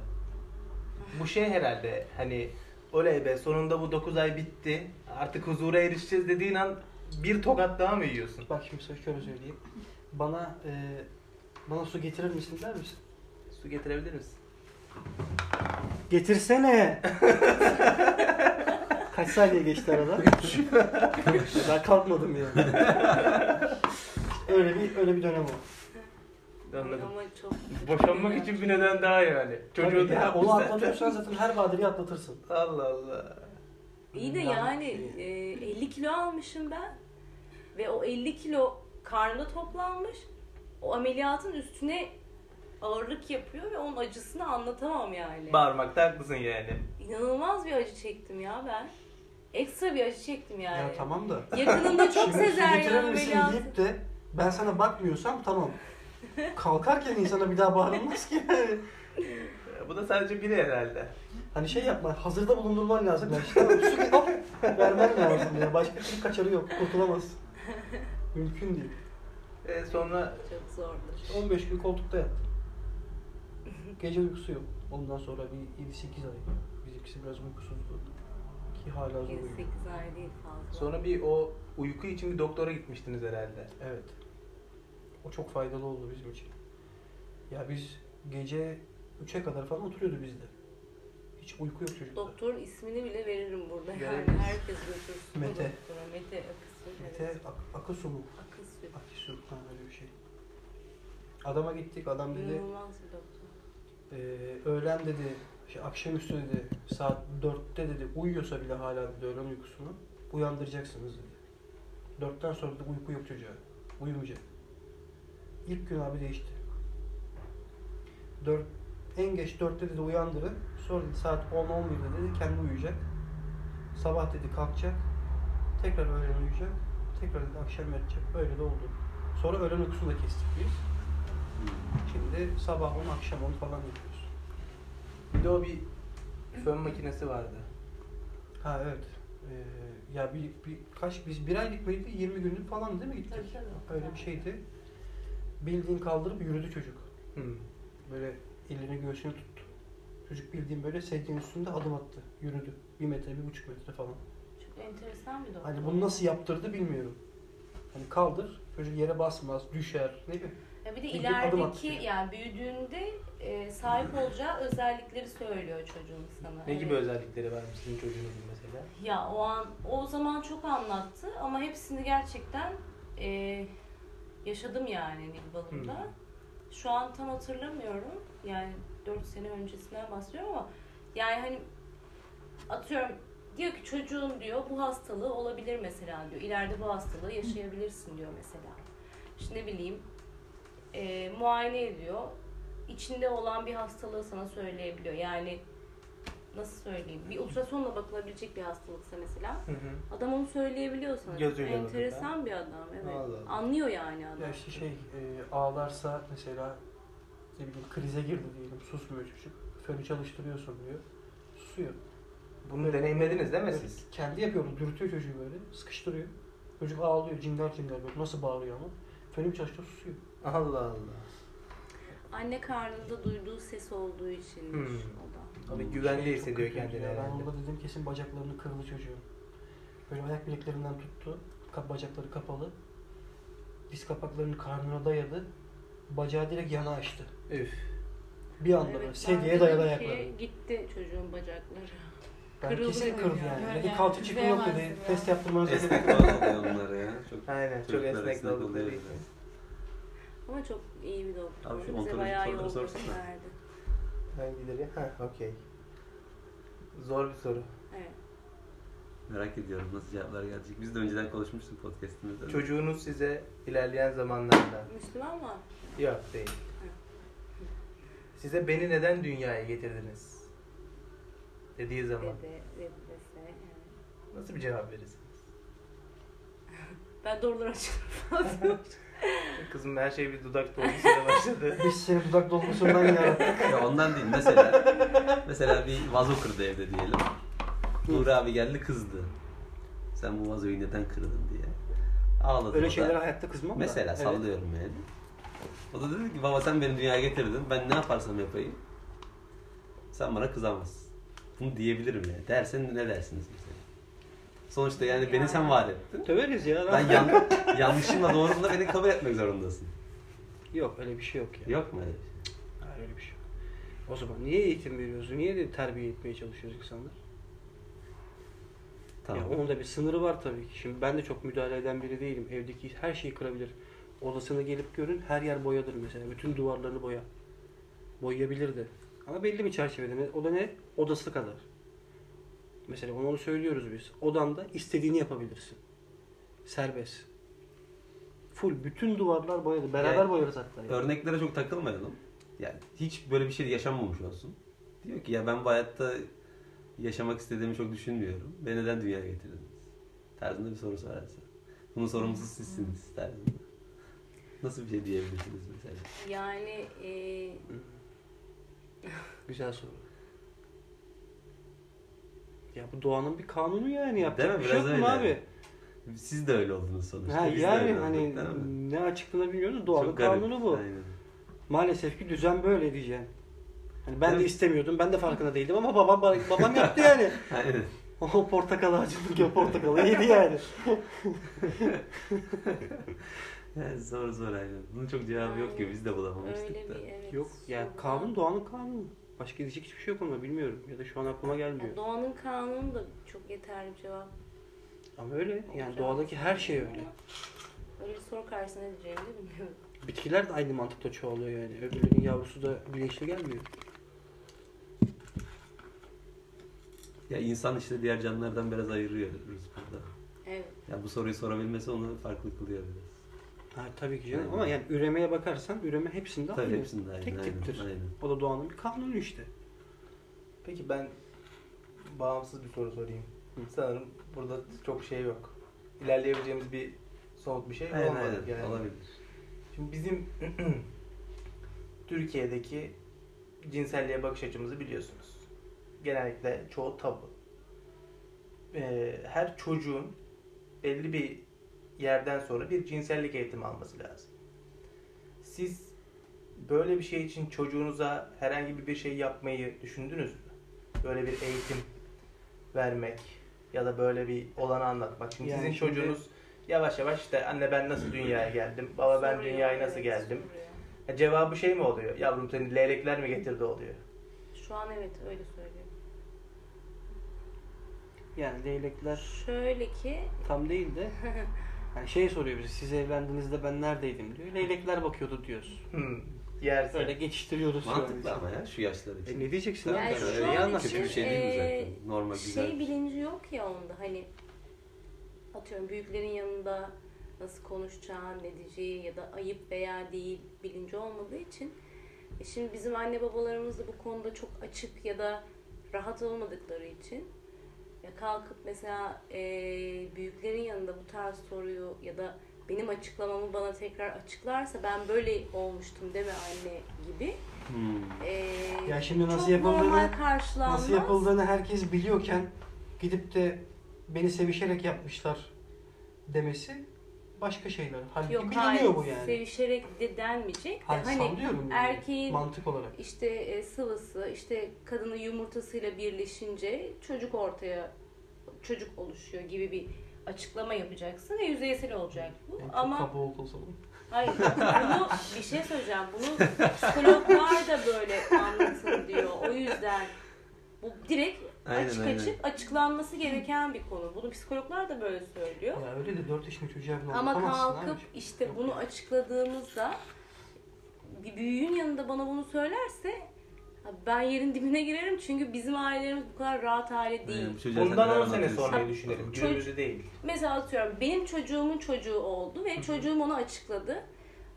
Bu şey herhalde hani oley be sonunda bu 9 ay bitti artık huzura erişeceğiz dediğin an bir tokat daha mı yiyorsun?
Bak şimdi sana şöyle söyleyeyim. Bana e, bana su getirir misin der misin?
Su getirebilir misin?
Getirsene. Kaç saniye geçti arada? ben kalkmadım yani. öyle bir öyle bir dönem o.
Anladım.
Ama çok
Boşanmak için bir neden daha yani. Çocuğu
Tabii ya,
daha
onu atlatıyorsan zaten her badireyi atlatırsın.
Allah Allah.
İyi de yani e, 50 kilo almışım ben ve o 50 kilo karnı toplanmış. O ameliyatın üstüne ağırlık yapıyor ve onun acısını anlatamam yani.
Bağırmakta haklısın yani.
İnanılmaz bir acı çektim ya ben. Ekstra bir acı çektim yani.
Ya tamam da.
Yakınımda çok
Şimdi su getirir
sezeryan
misin
ameliyatı.
şey deyip de ben sana bakmıyorsam tamam. Kalkarken insana bir daha bağırılmaz ki. yani.
Ee, Bu da sadece biri herhalde.
Hani şey yapma, hazırda bulundurman lazım. Ya işte tamam, su getir, vermen lazım ya. Başka türlü kaçarı yok, kurtulamazsın. Mümkün değil.
Ee, sonra
Çok zordu.
15 gün koltukta yattım. Gece uykusu yok. Ondan sonra bir 7-8 ay. Bizimkisi biraz uykusuzdu. Ki hala zor
8
uyuyor.
ay değil fazla.
sonra bir o uyku için bir doktora gitmiştiniz herhalde.
Evet. O çok faydalı oldu bizim için. Ya biz gece 3'e kadar falan oturuyordu bizde. Hiç uyku yok çocukta.
Doktor ismini bile veririm burada. Yani
Verebiliriz.
herkes götürsün.
Mete.
Doktora. Mete Akısı.
Mete Ak- Akısu mu?
Akıl Süt.
Akısu ha öyle bir şey. Adama gittik. Adam dedi
İnanılmaz bir doktor.
Ee, öğlen dedi, şey, akşamüstü dedi, saat 4'te dedi, uyuyorsa bile hala dedi öğlen uykusunu, uyandıracaksınız dedi. 4'ten sonra da uyku yok çocuğa, uyumayacak. İlk gün abi değişti. 4, en geç 4'te dedi uyandırın, sonra dedi, saat 10 11'de dedi kendi uyuyacak. Sabah dedi kalkacak, tekrar öğlen uyuyacak, tekrar dedi akşam yatacak, öyle de oldu. Sonra öğlen uykusunu da kestik biz. Şimdi sabah 10, akşam 10 falan yapıyoruz.
Bir de o bir fön makinesi vardı.
Ha evet. Ee, ya bir, bir kaç biz bir aylık mıydı 20 günlük falan değil mi gittik?
Tabii, tabii.
Öyle bir şeydi. Bildiğin kaldırıp yürüdü çocuk.
Hmm.
Böyle elini göğsünü tuttu. Çocuk bildiğin böyle sedyenin üstünde adım attı. Yürüdü. Bir metre, bir buçuk metre falan.
Çok enteresan bir doktor.
Hani bunu nasıl yaptırdı bilmiyorum. Hani kaldır, çocuk yere basmaz, düşer, ne bileyim.
Ya bir de
Bir de adım
ilerideki
atıyor.
yani büyüdüğünde e, sahip olacağı özellikleri söylüyor çocuğun sana. Hani
Ne gibi
Evet.
özellikleri varmış sizin çocuğunuzun mesela?
Ya o an o zaman çok anlattı ama hepsini gerçekten e, yaşadım yani Nilbalım'da. Şu an tam hatırlamıyorum. Yani 4 sene öncesinden bahsediyorum ama yani hani atıyorum diyor ki çocuğun diyor bu hastalığı olabilir mesela diyor. İleride bu hastalığı yaşayabilirsin diyor mesela. İşte ne bileyim e, muayene ediyor. İçinde olan bir hastalığı sana söyleyebiliyor. Yani nasıl söyleyeyim? Bir ultrasonla bakılabilecek bir hastalıksa mesela.
Hı hı.
Adam onu söyleyebiliyor sana.
Gözüyle
Enteresan bir adam evet.
Allah Allah.
Anlıyor yani adam.
Ya işte şey, e, ağlarsa mesela ne bileyim krize girdi diyelim, susmuyor çocuk. Fönü çalıştırıyorsun diyor. susuyor.
Bunu deneyimlediniz değil mi
Evet,
siz?
Kendi yapıyordu. Dürtüyor çocuğu böyle. Sıkıştırıyor. Çocuk ağlıyor. Cingar cingar böyle. Nasıl bağırıyor ama. Fönüm çalıştı susuyor.
Allah Allah.
Anne karnında duyduğu ses olduğu için
Hmm.
o da.
Hani
Ama
güvende
şey çok
hissediyor
kötüydü
kendini
ya. Ben
herhalde.
onda dedim kesin bacaklarını kırdı çocuğun. Böyle ayak bileklerinden tuttu. Kap bacakları kapalı. Diz kapaklarını karnına dayadı. Bacağı direkt yana açtı.
Üf.
Bir anda böyle şey
Evet,
sedyeye
ben
dayadı
dedim
ayakları.
ki, Gitti çocuğun bacakları.
Ben
kırıldı
kesin
mı
kırdı
ya?
yani.
Böyle
Dedi
yani
kalça çıkma yok dedi.
izleyemezdim ya.
Test yaptırmanız gerek
Esnek
yok.
falan oluyor onlar ya. Çok,
Aynen çok
çocuklar
esnek oldukları için.
Ama çok iyi bir doktor.
Abi şu
Bize
ontolojik
bayağı
soruları
yol
sorsana.
gösterdi.
Hangileri? Ha okey. Zor bir soru.
Evet.
Merak ediyorum nasıl cevaplar gelecek. Biz de önceden konuşmuştuk podcastimizde.
Çocuğunuz size ilerleyen zamanlarda
Müslüman mı?
Yok değil. Size beni neden dünyaya getirdiniz? Dediği zaman
Dedi, dedi dese. evet.
nasıl bir cevap verirsiniz?
Ben doğruları açıyorum.
Kızım her şey bir dudak dolgusuyla başladı.
Biz seni dudak dolgusundan yarattık.
Ya ondan değil mesela. mesela bir vazo kırdı evde diyelim. Uğur abi geldi kızdı. Sen bu vazoyu neden kırdın diye. Ağladı o
Öyle
da.
şeyler hayatta kızmam da.
Mesela
Evet.
sallıyorum yani. O da dedi ki baba sen beni dünyaya getirdin. Ben ne yaparsam yapayım. Sen bana kızamazsın. Bunu diyebilirim yani. Dersen ne dersiniz mesela? Sonuçta yani beni sen var ettin.
Döveriz ya.
Ben yan, yanlışımla doğrumla beni kabul etmek zorundasın.
Yok öyle bir şey yok ya.
Yok mu öyle bir şey?
Hayır öyle bir şey yok. O zaman niye eğitim veriyoruz? Niye de terbiye etmeye çalışıyoruz insanlar?
Tamam.
Ya onun da bir sınırı var tabii ki. Şimdi ben de çok müdahale eden biri değilim. Evdeki her şeyi kırabilir. Odasına gelip görün her yer boyadır mesela. Bütün duvarlarını boya. Boyayabilirdi. Ama belli bir çerçevede. Ne- O da ne? Odası kadar. Mesela ona onu söylüyoruz biz. Odanda istediğini yapabilirsin. Serbest. Full bütün duvarlar boyadı. Beraber
Yani
boyarız hatta. yani.
Örneklere çok takılmayalım. Yani hiç böyle bir şey yaşanmamış olsun. Diyor ki ya ben bu hayatta yaşamak istediğimi çok düşünmüyorum. Beni neden dünyaya getirdiniz? Tarzında bir soru sorarsa. Bunun sorumlusu sizsiniz tarzında. Nasıl bir şey diyebilirsiniz mesela?
Yani e,
Güzel soru. Ya bu doğanın bir kanunu yani yapacak
Değil mi?
bir şey yok
Biraz
mu
öyle.
abi?
Siz de öyle oldunuz sonuçta.
Ha,
Biz de
yani
öyle
hani
olduk, değil mi?
ne açıklığını bilmiyoruz da
Çok
doğanın
garip.
kanunu bu.
Aynen.
Maalesef ki düzen böyle diyeceğim. Hani ben de
Evet.
istemiyordum. Ben de farkında değildim ama babam babam yaptı yani.
Aynen.
O portakal ağacındaki o portakalı yedi yani.
Yani zor zor aynen. Bunun çok cevabı yok ki biz de bulamamıştık
öyle
da.
bir evet.
Yok yani
soru.
kanun doğanın kanunu. Başka diyecek hiçbir şey yok ona bilmiyorum. Ya da şu an aklıma gelmiyor.
Ya Doğanın kanunu da çok yeterli bir cevap.
Ama öyle yani doğadaki her şey öyle.
Öyle bir soru karşısına ne diyeceğimi de bilmiyorum.
Bitkiler de aynı mantıkla çoğalıyor yani. Öbürünün yavrusu da güneşli gelmiyor.
Ya insan işte diğer canlılardan biraz ayırıyoruz burada.
Evet.
Ya bu soruyu sorabilmesi onu farklı kılıyor biraz.
Ha, tabii ki canım
Aynen.
ama yani üremeye bakarsan üreme hepsinde
Tabii
aynı.
hepsinde aynı.
Tek
aynen,
tiptir.
Aynen.
O da doğanın bir kanunu işte.
Peki ben bağımsız bir soru sorayım.
Hı.
Sanırım burada çok şey yok. İlerleyebileceğimiz bir somut bir şey
Aynen,
olmadı
aynen.
yani.
Olabilir.
Şimdi bizim Türkiye'deki cinselliğe bakış açımızı biliyorsunuz. Genellikle çoğu tabu. Ee, her çocuğun belli bir yerden sonra bir cinsellik eğitimi alması lazım. Siz böyle bir şey için çocuğunuza herhangi bir şey yapmayı düşündünüz mü? Böyle bir eğitim vermek ya da böyle bir olanı anlatmak. Şimdi
Yani
sizin
şimdi-
çocuğunuz yavaş yavaş işte anne ben nasıl dünyaya geldim, baba ben
Soruyor,
dünyaya nasıl
evet,
geldim.
soruyor.
Ya cevabı şey mi oluyor? Yavrum seni leylekler mi getirdi oluyor?
Şu an evet öyle söylüyor.
Yani leylekler
Şöyle ki
tam değil de yani şey soruyor bize siz evlendiğinizde ben neredeydim diyor. Leylekler bakıyordu diyoruz.
Hmm. Yersin.
Öyle geçiştiriyoruz.
Mantıklı
yani.
ama ya şu yaşlar için.
E ne diyeceksin?
Yani
abi?
şu
Öyle
an
ya
için-
nasıl?
Kötü bir şey değil mi
eee,
zaten? Normal güzel.
şey bilinci yok ya onda hani atıyorum büyüklerin yanında nasıl konuşacağı, ne diyeceği ya da ayıp veya değil bilinci olmadığı için e şimdi bizim anne babalarımız da bu konuda çok açık ya da rahat olmadıkları için e, Ya kalkıp mesela e, büyüklerin yanında bu tarz soruyu ya da benim açıklamamı bana tekrar açıklarsa ben böyle olmuştum deme anne gibi.
Hmm.
E,
Ya şimdi nasıl
çok
yapıldığını,
normal karşılanmaz.
nasıl yapıldığını herkes biliyorken gidip de beni sevişerek yapmışlar demesi başka şeyler. Halbuki
Yok hayır,
biliniyor bu yani.
sevişerek de denmeyecek de
Hayır,
hani
sallıyorum yani,
erkeğin
mantık olarak.
işte e, sıvısı, işte kadının yumurtasıyla birleşince çocuk ortaya çocuk oluşuyor gibi bir açıklama yapacaksın ve yüzeysel olacak bu.
Yani çok
Ama
kaba oldu sanırım.
Hayır, bunu bir şey söyleyeceğim. Bunu psikologlar da böyle anlatın diyor. O yüzden bu direkt
Aynen,
açık
aynen.
açık açıklanması gereken bir konu. Bunu psikologlar da böyle söylüyor.
Ya öyle de 4 yaşında çocuğa bunu
Ama
anlatamazsın
kalkıp
abiciğim.
işte
Yok.
bunu açıkladığımızda bir büyüğün yanında bana bunu söylerse "Ha, ben yerin dibine girerim çünkü bizim ailelerimiz bu kadar rahat aile değil.
Yani bu çocuğa sen neler
Bundan 10 sene
anlatıyorsun?
sonrayı düşünelim.
Çocuk-
Günümüzü değil.
Mesela atıyorum benim çocuğumun çocuğu oldu ve çocuğum onu açıkladı.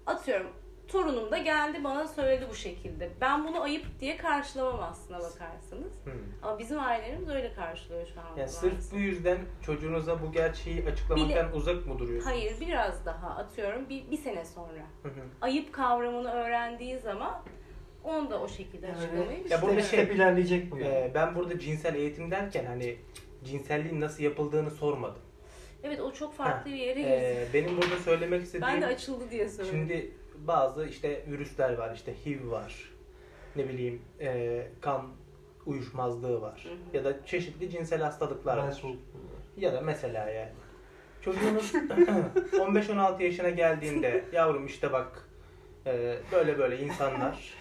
Atıyorum torunum da geldi bana söyledi bu şekilde. Ben bunu ayıp diye karşılamam aslına bakarsanız.
Hı.
Ama bizim ailelerimiz öyle karşılıyor şu anda.
Hmm. Yani sırf
maalesef.
bu yüzden çocuğunuza bu gerçeği açıklamaktan uzak mı duruyorsunuz?
Hayır biraz daha atıyorum bir, bir sene sonra.
Hı hı.
Ayıp kavramını öğrendiği zaman onu da o şekilde
Yani-
açıklamayı
Ya bu
Step
bir şey-
step ilerleyecek bu yani.
Ee, ben burada cinsel eğitim derken hani cinselliğin nasıl yapıldığını sormadım.
Evet o çok farklı bir yere girdi.
Ee, benim burada söylemek istediğim...
ben de açıldı diye söyledim.
Şimdi bazı işte virüsler var, işte HIV var, ne bileyim e, kan uyuşmazlığı var
Hı hı.
ya da çeşitli cinsel hastalıklar
ben
var.
soğuk.
Ya da mesela yani çocuğunuz 15-16 yaşına geldiğinde yavrum işte bak e, böyle böyle insanlar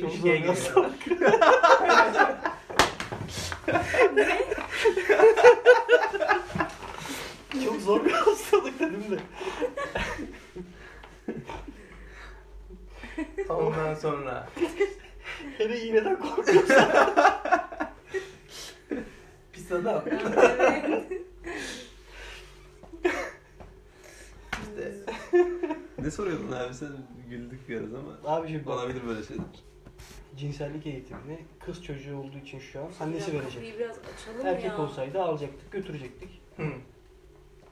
Çok
ilişkiye
zor bir
giriyorlar.
Çok zor bir hastalık dedim de.
Ondan sonra
Hele iğneden korkuyorum.
pis adam.
Ne soruyordun abi sen güldük biraz ama.
Abiciğim bak.
Olabilir böyle şey. şeyler.
Cinsellik eğitimini kız çocuğu olduğu için şu an annesi
Biraz
verecek.
kapıyı biraz açalım
Erkek
ya.
olsaydı alacaktık, götürecektik.
Hı.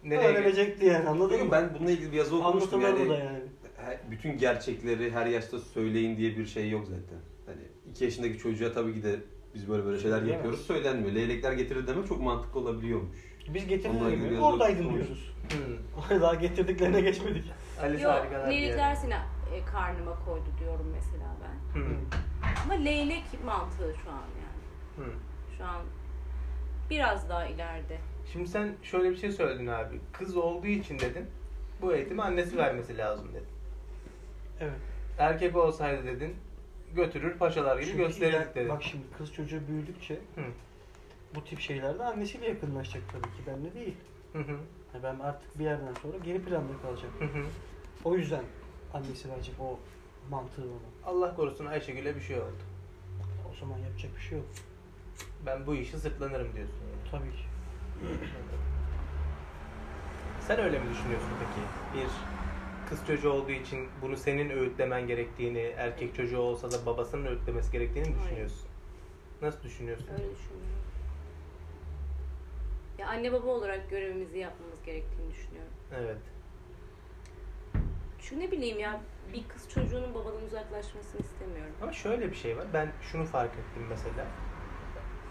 Nereye gel-
Öğrenecekti yani anladın
Bugün
mı?
ben bununla ilgili bir yazı okumuştum
Anlatılan
yani.
bu da yani.
her- bütün gerçekleri her yaşta söyleyin diye bir şey yok zaten. Hani iki yaşındaki çocuğa tabii ki de biz böyle böyle şeyler
Şey
Değil mi?
yapıyoruz söylenmiyor. Leylekler getirir demek çok mantıklı olabiliyormuş.
Biz
Ondan
getirdik mi?
gidiyoruz,
Oradaydın
oturuyoruz.
diyoruz.
Hı.
Daha getirdiklerine geçmedik.
Alice
Yok,
harikalar bir yer.
leylekler seni e, karnıma koydu diyorum mesela ben.
Hı.
Ama leylek mantığı şu an yani.
Hı.
Şu an biraz daha ileride.
Şimdi sen şöyle bir şey söyledin abi. Kız olduğu için dedin. Bu eğitimi annesi vermesi lazım dedin.
Evet.
Erkek olsaydı dedin. Götürür paşalar gibi
Çünkü
gösterirdik
iler-
dedin.
Bak şimdi kız çocuğu büyüdükçe
Hı.
bu tip şeylerde annesiyle yakınlaşacak tabii ki. Benle değil.
Hı hı,
Yani ben artık bir yerden sonra geri planda kalacağım.
hı hı.
O yüzden annesi verecek o mantığı ona.
Allah korusun Ayşegül'e bir şey oldu.
O zaman yapacak bir şey yok.
Ben bu işi sırtlanırım diyorsun. yani.
Tabii ki.
Sen öyle mi düşünüyorsun peki? Bir kız çocuğu olduğu için bunu senin öğütlemen gerektiğini, erkek çocuğu olsa da babasının öğütlemesi gerektiğini mi
Hayır.
düşünüyorsun? Nasıl düşünüyorsun?
Öyle düşünüyorum. Ya anne baba olarak görevimizi yapmamız gerektiğini düşünüyorum.
Evet.
Çünkü ne bileyim ya bir kız çocuğunun babadan uzaklaşmasını istemiyorum.
Ama şöyle bir şey var. Ben şunu fark ettim mesela.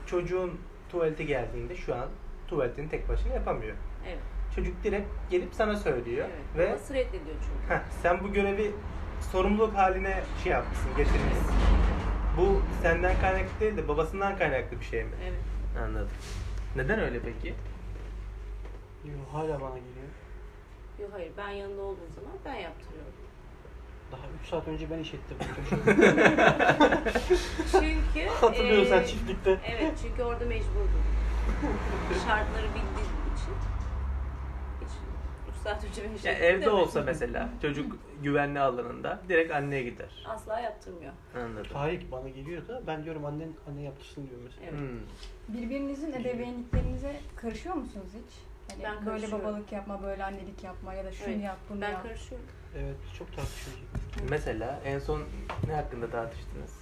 Çocuğun tuvalete geldiğinde şu an tuvaletini tek başına yapamıyor.
Evet.
Çocuk direkt gelip sana söylüyor
evet.
ve
Babası reddediyor çünkü.
Heh, sen bu görevi sorumluluk haline şey yapmışsın, getirmişsin. Bu senden kaynaklı değil de babasından kaynaklı bir şey mi?
Evet.
Anladım. Neden öyle peki?
Yo, hala bana geliyor.
Yok hayır ben yanında olduğum zaman ben yaptırıyorum.
Daha 3 saat önce ben iş ettim. bu çocuğu.
Çünkü
Hatırlıyorsun sen
eee,
çiftlikte.
Evet çünkü orada mecburdum. Şartları bildiğim için. Hiç 3 saat önce ben
Ya
şey
evde
demedim.
olsa mesela çocuk güvenli alanında direkt anneye gider.
Asla yaptırmıyor.
Anladım.
Hayır bana geliyor da ben diyorum annen anne yaptırsın diyor mesela.
Evet.
Hmm.
Birbirinizin ebeveynliklerinize karışıyor musunuz hiç? Hani
Ben
böyle
karışıyorum.
babalık yapma, böyle annelik yapma ya da şunu
Evet,
yap, bunu
Ben
yap.
karışıyorum.
Evet çok tartışıyoruz.
Mesela en son ne hakkında tartıştınız?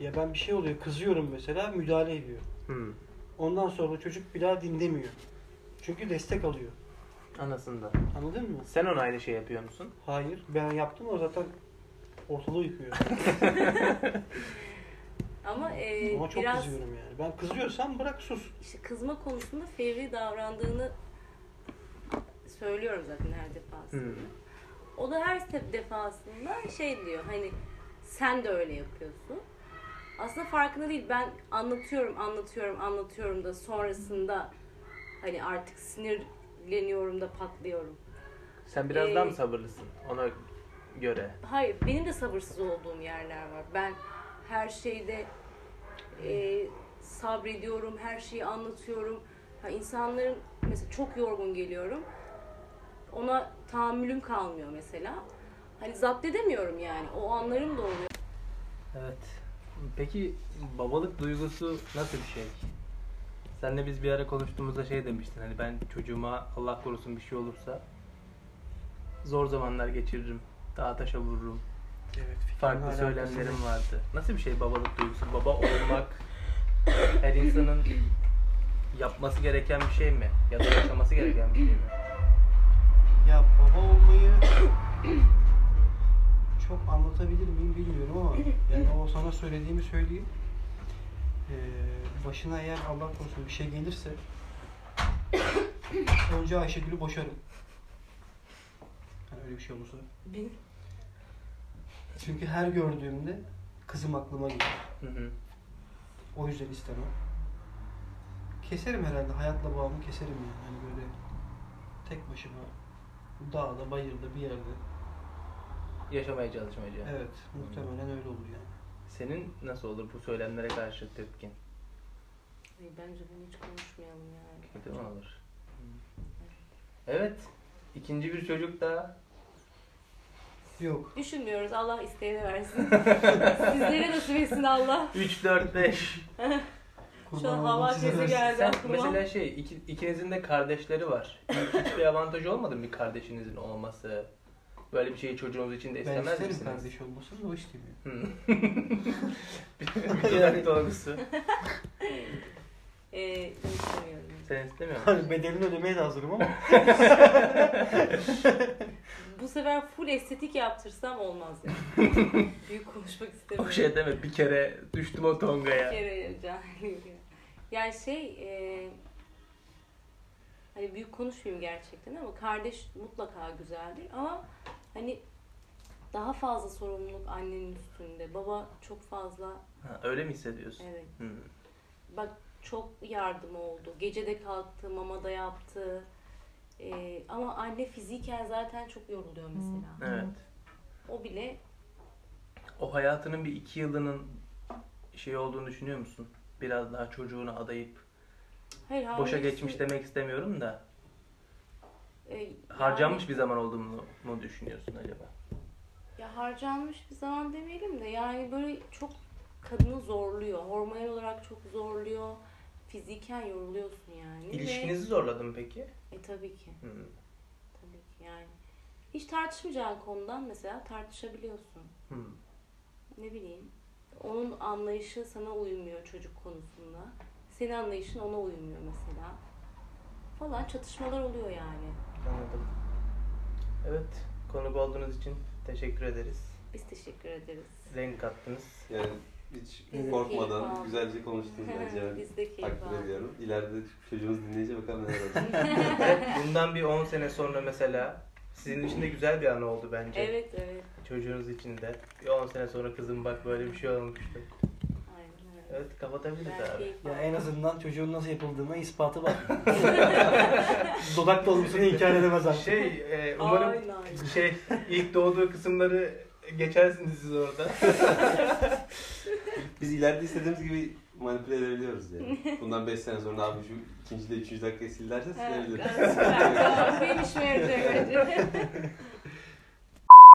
Ya ben bir şey oluyor kızıyorum mesela müdahale ediyor.
Hmm.
Ondan sonra çocuk bir daha dinlemiyor. Çünkü destek alıyor.
Anasında.
Anladın mı?
Sen ona aynı şey yapıyor musun?
Hayır. Ben yaptım o zaten ortalığı yıkıyor.
Ama, e,
Ama çok
biraz
kızıyorum yani. Ben kızıyorsam bırak sus.
işte kızma konusunda fevri davrandığını söylüyorum zaten her defasında.
Hmm.
O da her se- defasında şey diyor hani sen de öyle yapıyorsun. Aslında farkında değil ben anlatıyorum anlatıyorum anlatıyorum da sonrasında hani artık sinirleniyorum da patlıyorum.
Sen biraz daha mı
Ee,
sabırlısın ona göre?
Hayır benim de sabırsız olduğum yerler var. Ben her şeyde e, sabrediyorum, her şeyi anlatıyorum. Ha, insanların mesela çok yorgun geliyorum. Ona tahammülüm kalmıyor mesela. Hani zapt edemiyorum yani. O anlarım da oluyor.
Evet. Peki babalık duygusu nasıl bir şey? Senle biz bir ara konuştuğumuzda şey demiştin hani ben çocuğuma Allah korusun bir şey olursa zor zamanlar geçiririm. Dağa taşa vururum.
Evet.
Farklı
fikrimle alakası yok.
söylemlerim vardı. Nasıl bir şey babalık duygusu? Baba olmak her insanın yapması gereken bir şey mi? Ya da yaşaması gereken bir şey mi?
Ya baba olmayı çok anlatabilir miyim bilmiyorum ama yani o sana söylediğimi söyleyeyim. Ee, başına eğer Allah korusun bir şey gelirse önce Ayşegül'ü boşarım. Hani öyle bir şey olursa. Çünkü her gördüğümde kızım aklıma geliyor.
Hı hı.
O yüzden istemem. Keserim herhalde. Hayatla bağımı keserim yani. Hani böyle tek başıma dağda, bayırda bir yerde.
Yaşamaya çalışmayacağım.
Evet. Muhtemelen öyle olur yani.
Senin nasıl olur bu söylemlere karşı tepkin?
Ay, bence bunu hiç konuşmayalım yani.
Kötü mü olur?
Hmm.
Evet. ikinci bir çocuk daha.
Yok.
Düşünmüyoruz. Allah isteyene versin. Sizlere nasip etsin Allah.
3, 4, 5.
Şu an
Kurban
hava
olduğum size
sesi
versin.
geldi
Sen
aklıma.
mesela şey iki, ikinizin de kardeşleri var. Hiçbir avantaj olmadı mı bir kardeşinizin olması? Böyle bir şeyi çocuğunuz için de
Ben
istemez
isterim
misiniz?
kardeş olmasın da o istemiyor.
Hı. Bir dudak dolgusu.
Ee, istemiyorum.
Sen istemiyor musun?
Hani bedelini ödemeye de hazırım ama.
Bu sefer full estetik yaptırsam olmaz yani. Büyük konuşmak istemiyorum.
O şey deme bir kere düştüm o
Bir
tongaya.
kere cahil. Yani şey, e, hani büyük konuşmayayım gerçekten ama kardeş mutlaka güzeldir ama hani daha fazla sorumluluk annenin üstünde. Baba çok fazla,
Ha, öyle mi hissediyorsun? Hmm,
evet.
Hı.
Bak çok yardım oldu. Gecede kalktı, mamada yaptı. E, ama anne fiziken zaten çok yoruluyor mesela.
Evet.
O bile
O hayatının bir iki yılının şey olduğunu düşünüyor musun? Biraz daha çocuğuna adayıp
hayır
boşa
hamilesi-
geçmiş demek istemiyorum da.
e,
Harcanmış bir zaman olduğunu mu düşünüyorsun acaba?
Ya harcanmış bir zaman demeyelim de yani böyle çok kadını zorluyor. Hormonal olarak çok zorluyor. Fiziken yoruluyorsun yani. ve-
İlişkinizi zorladı mı peki? Hmm.
E tabii ki.
Hı.
Tabii ki yani. Hiç tartışmayacağın konudan mesela tartışabiliyorsun.
Hı.
Ne bileyim. Onun anlayışı sana uymuyor çocuk konusunda. Senin anlayışın ona uymuyor mesela. Falan çatışmalar oluyor yani.
Anladım. Evet, konuk olduğunuz için teşekkür ederiz.
Biz teşekkür ederiz.
Renk kattınız.
Yani hiç
Biz de keyif
korkmadan
aldık.
güzelce konuştunuz bence.
Biz de keyif
Takdir
aldık.
ediyorum. İleride çocuğunuz dinleyince bakalım neler olacak.
Bundan bir 10 sene sonra mesela sizin için de güzel bir an oldu bence.
Evet evet.
Çocuğunuz için de. Bir 10 sene sonra kızım bak böyle bir şey olmuştu.
Aynen öyle.
Evet, kapatabiliriz
Ben
abi.
keyif
Ya
aldım.
en azından çocuğun nasıl yapıldığına ispatı var. Dudak dolgusunu inkar edemez artık.
Şey, e, umarım
Aynen.
şey ilk doğduğu kısımları geçersiniz siz orada.
Biz ileride istediğimiz gibi manipüle edebiliyoruz yani. Bundan 5 sene sonra abi şu ikinci de üçüncü dakikayı sil derse silebiliriz.
Süper. Tamam, Benim işime yarayacak bence.